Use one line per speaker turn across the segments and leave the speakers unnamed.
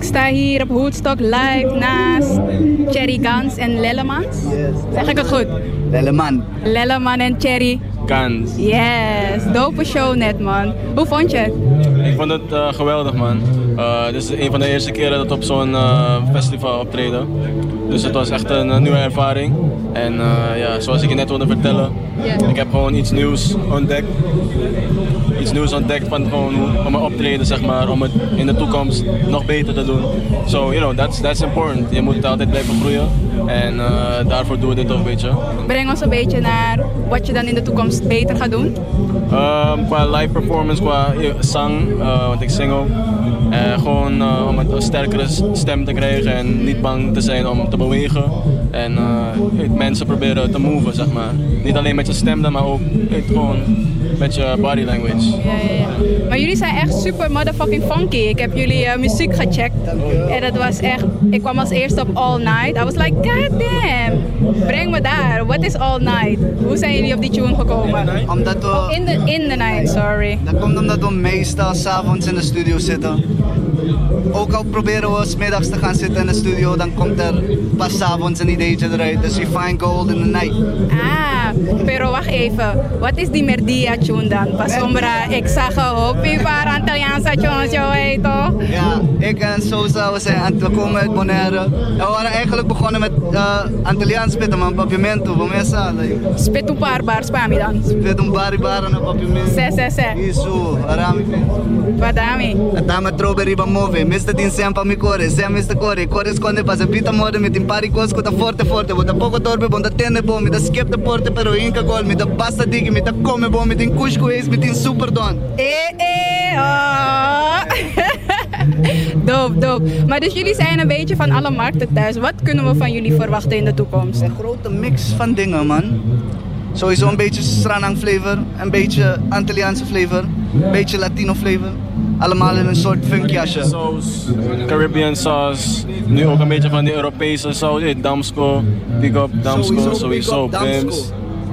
sta hier op Woodstock live naast Cherry Gans en Lellemans. Zeg ik het goed?
Lelleman.
Lelleman en Cherry.
Kans.
Yes, dope show net man. Hoe vond je het?
Ik vond het eh, geweldig man. Eh, dit is een van de eerste keren dat we op zo'n eh, festival optreden. Dus het was echt een eh, nieuwe ervaring. En eh, ja, zoals ik je net wilde vertellen,
Ja.
ik heb gewoon iets nieuws ontdekt. Iets nieuws ontdekt van gewoon hoe- om mijn optreden, zeg maar, om het in de toekomst nog beter te doen. So, you know, that's, that's important. Je moet altijd blijven groeien. En eh, daarvoor doen we dit ook een beetje.
Breng ons een beetje naar wat je dan in de toekomst beter gaat doen.
Ehm, qua live performance, qua zang, eh, want ik zing ook. Eh, gewoon eh, om een sterkere s- stem te krijgen en niet bang te zijn om te bewegen. En eh, het- mensen proberen te moven, zeg maar. Niet alleen met je stem, dan, maar ook het gewoon met je body language.
Ja, ja, ja. Maar jullie zijn echt super motherfucking funky. Ik heb jullie eh, muziek gecheckt. En dat was echt. Ik kwam als eerste op All Night. I was like, god damn. Breng me daar. Wat is All Night? Hoe zijn jullie op die tune gekomen?
Omdat
Oh,
we,
in, the, in the night, sorry.
dat komt omdat we meestal s'avonds in de studio zitten. Ook al proberen we smiddags te gaan zitten in de studio, dan komt er pas s'avonds een ideetje eruit. Dus we find gold in the night.
Ah, pero wacht even. Wat is die merdia tune dan? Pasombra, ik zag een hoopje paar Antilliaanse tunes, joh, hey, toch?
Ja, ik en Sosa, we zijn aan het komen uit Bonaire. En we waren eigenlijk begonnen met eh Antilliaans spitten, maar papiamento, voor mij salen.
Spit een paar bars, Pami dan.
Spit een baribara naar papiamento.
Zes, zes, zes.
Isso, arami.
Badami.
Dame trobe riba move, meste din sempa mi core, se meste core, core sconde pa se pita mode, mi tim pari cosco da forte forte, bo da poco torbe, bo da tende bo, mi da skip de porte, pero inca gol, mi da basta digi, mi da come bo, mi din cusco eis, mi din super don.
Eh, eh, oh. doop, doop. Maar dus jullie zijn een beetje van alle markten thuis. Wat kunnen we van jullie verwachten in de toekomst?
Een grote mix van dingen man. Sowieso een beetje Stranang flavor, een beetje Antilliaanse flavor, een beetje Latino flavor. Allemaal in een soort funkjasje.
Saus, Caribbean sauce, nu ook een beetje van die Europese saus. Eh, Damsco, Big Up, Damsco, sowieso, Bims.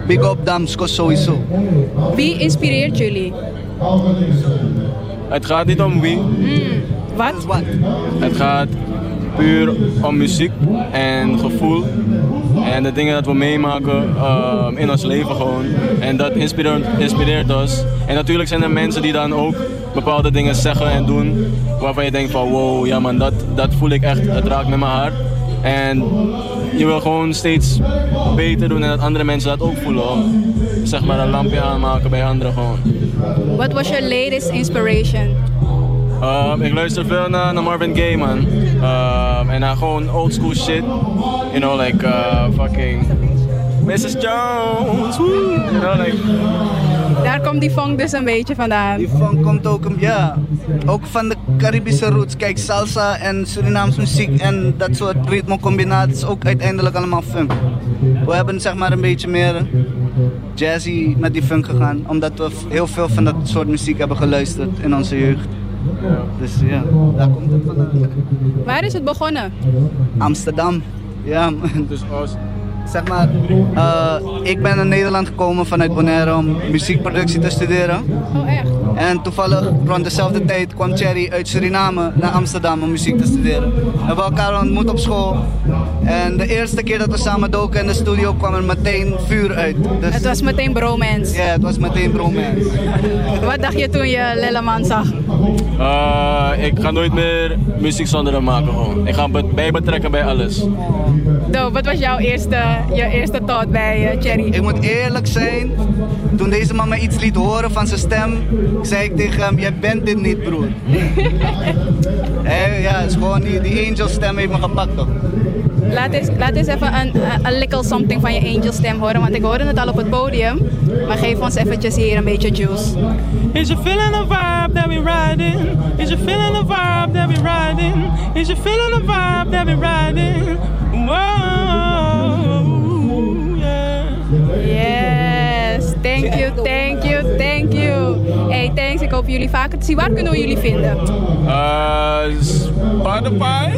Big up Damsko sowieso.
Wie inspireert jullie?
Het gaat niet om wie,
Dat
Wat?
is wat.
Het gaat puur om muziek en gevoel. En de dingen dat we meemaken ehm, in ons leven gewoon. En dat inspireert, inspireert ons. En natuurlijk zijn er mensen die dan ook bepaalde dingen zeggen en doen. Waarvan je denkt van wow, ja man, dat, dat voel ik echt. Het raakt met mijn hart. En je wil gewoon steeds beter doen en dat andere mensen dat ook voelen. Om, zeg maar een lampje aanmaken bij anderen gewoon.
Wat was your latest inspiration?
Um, ik luister veel naar, naar Marvin Gaye, man. Um, en naar gewoon old school shit. You know, like uh, fucking Mrs. Jones. Woo! You know, like
Daar komt die funk dus een beetje vandaan.
Die funk komt ook, ja, ook van de Caribische roots. Kijk, salsa en Surinaams muziek en dat soort ritmecombinaties ook uiteindelijk allemaal funk. We hebben zeg maar een beetje meer jazzy met die funk gegaan, omdat we f- heel veel van dat soort muziek hebben geluisterd in onze jeugd. Dus ja, daar komt het vandaan.
Waar is het begonnen?
Amsterdam. Ja, man.
dus als
Zeg maar, eh, ik ben naar Nederland gekomen vanuit Bonaire om muziekproductie te studeren.
Oh, echt?
En toevallig rond dezelfde tijd kwam Thierry uit Suriname naar Amsterdam om muziek te studeren. We hebben elkaar ontmoet op school. En de eerste keer dat we samen doken in de studio kwam er meteen vuur uit. Dus
Het was meteen bromance.
ja, het was meteen bromance.
Wat dacht je toen je Lilleman zag?
eh, ik ga nooit meer muziek zonder hem maken gewoon. Ik ga hem be- bij betrekken bij alles.
Doop, wat was jouw eerste, je eerste thought bij eh, Cherry?
Ik moet eerlijk zijn, toen deze man me iets liet horen van zijn stem, zei ik tegen hem, jij bent dit niet broer. Hé, ja, het is gewoon die, die angel stem heeft me gepakt toch.
Laat eens, laat eens even een, een- een little something van je angel stem horen, want ik hoorde het al op het podium. Maar geef ons eventjes hier een beetje juice.
Is you feeling the vibe that we riding? Is you feeling the vibe that we riding? Is you feeling the vibe that we riding? Whoa, yeah.
Yes, thank you, thank you, thank you. Hey, thanks, ik hoop jullie vaker te zien. Waar kunnen we jullie vinden?
Eh, Uh, Spotify?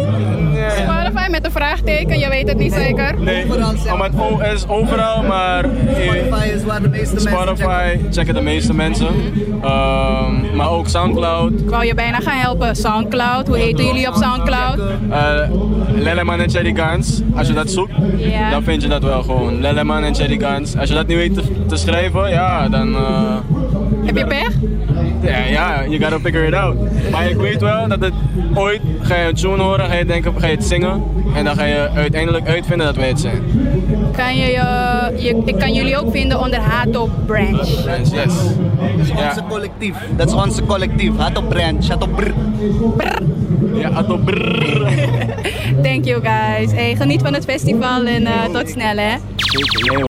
Ja.
Spotify met een vraagteken? Je weet het niet zeker.
Nee,
Overal, zeg.
oh, maar het o- is overal, maar eh,
Spotify is waar de meeste mensen
Spotify
checken.
checken de meeste mensen. Ehm, maar ook Soundcloud.
Ik wou je bijna gaan helpen. Soundcloud, hoe heten jullie op Soundcloud?
Eh, Lelleman en Cherry Guns, als je dat zoekt,
Ja.
dan vind je dat wel gewoon. Lelleman en Cherry Guns. Als je dat niet weet te, te schrijven, ja, dan. eh,
Heb je pech?
Ja, ja, you gotta figure it out. Maar ik weet wel dat het ooit ga je een tune horen, ga je denken, ga je het zingen. En dan ga je uiteindelijk uitvinden dat wij het zijn.
Kan je, je, je- ik kan jullie ook vinden onder Hato Branch.
Yes. Ja,
Onze collectief. Dat is onze collectief. Hato branch, hato brr.
ja atto brrrr.
Thank you guys. Hey, geniet van het festival en eh, tot snel hè.
Zeker, nee,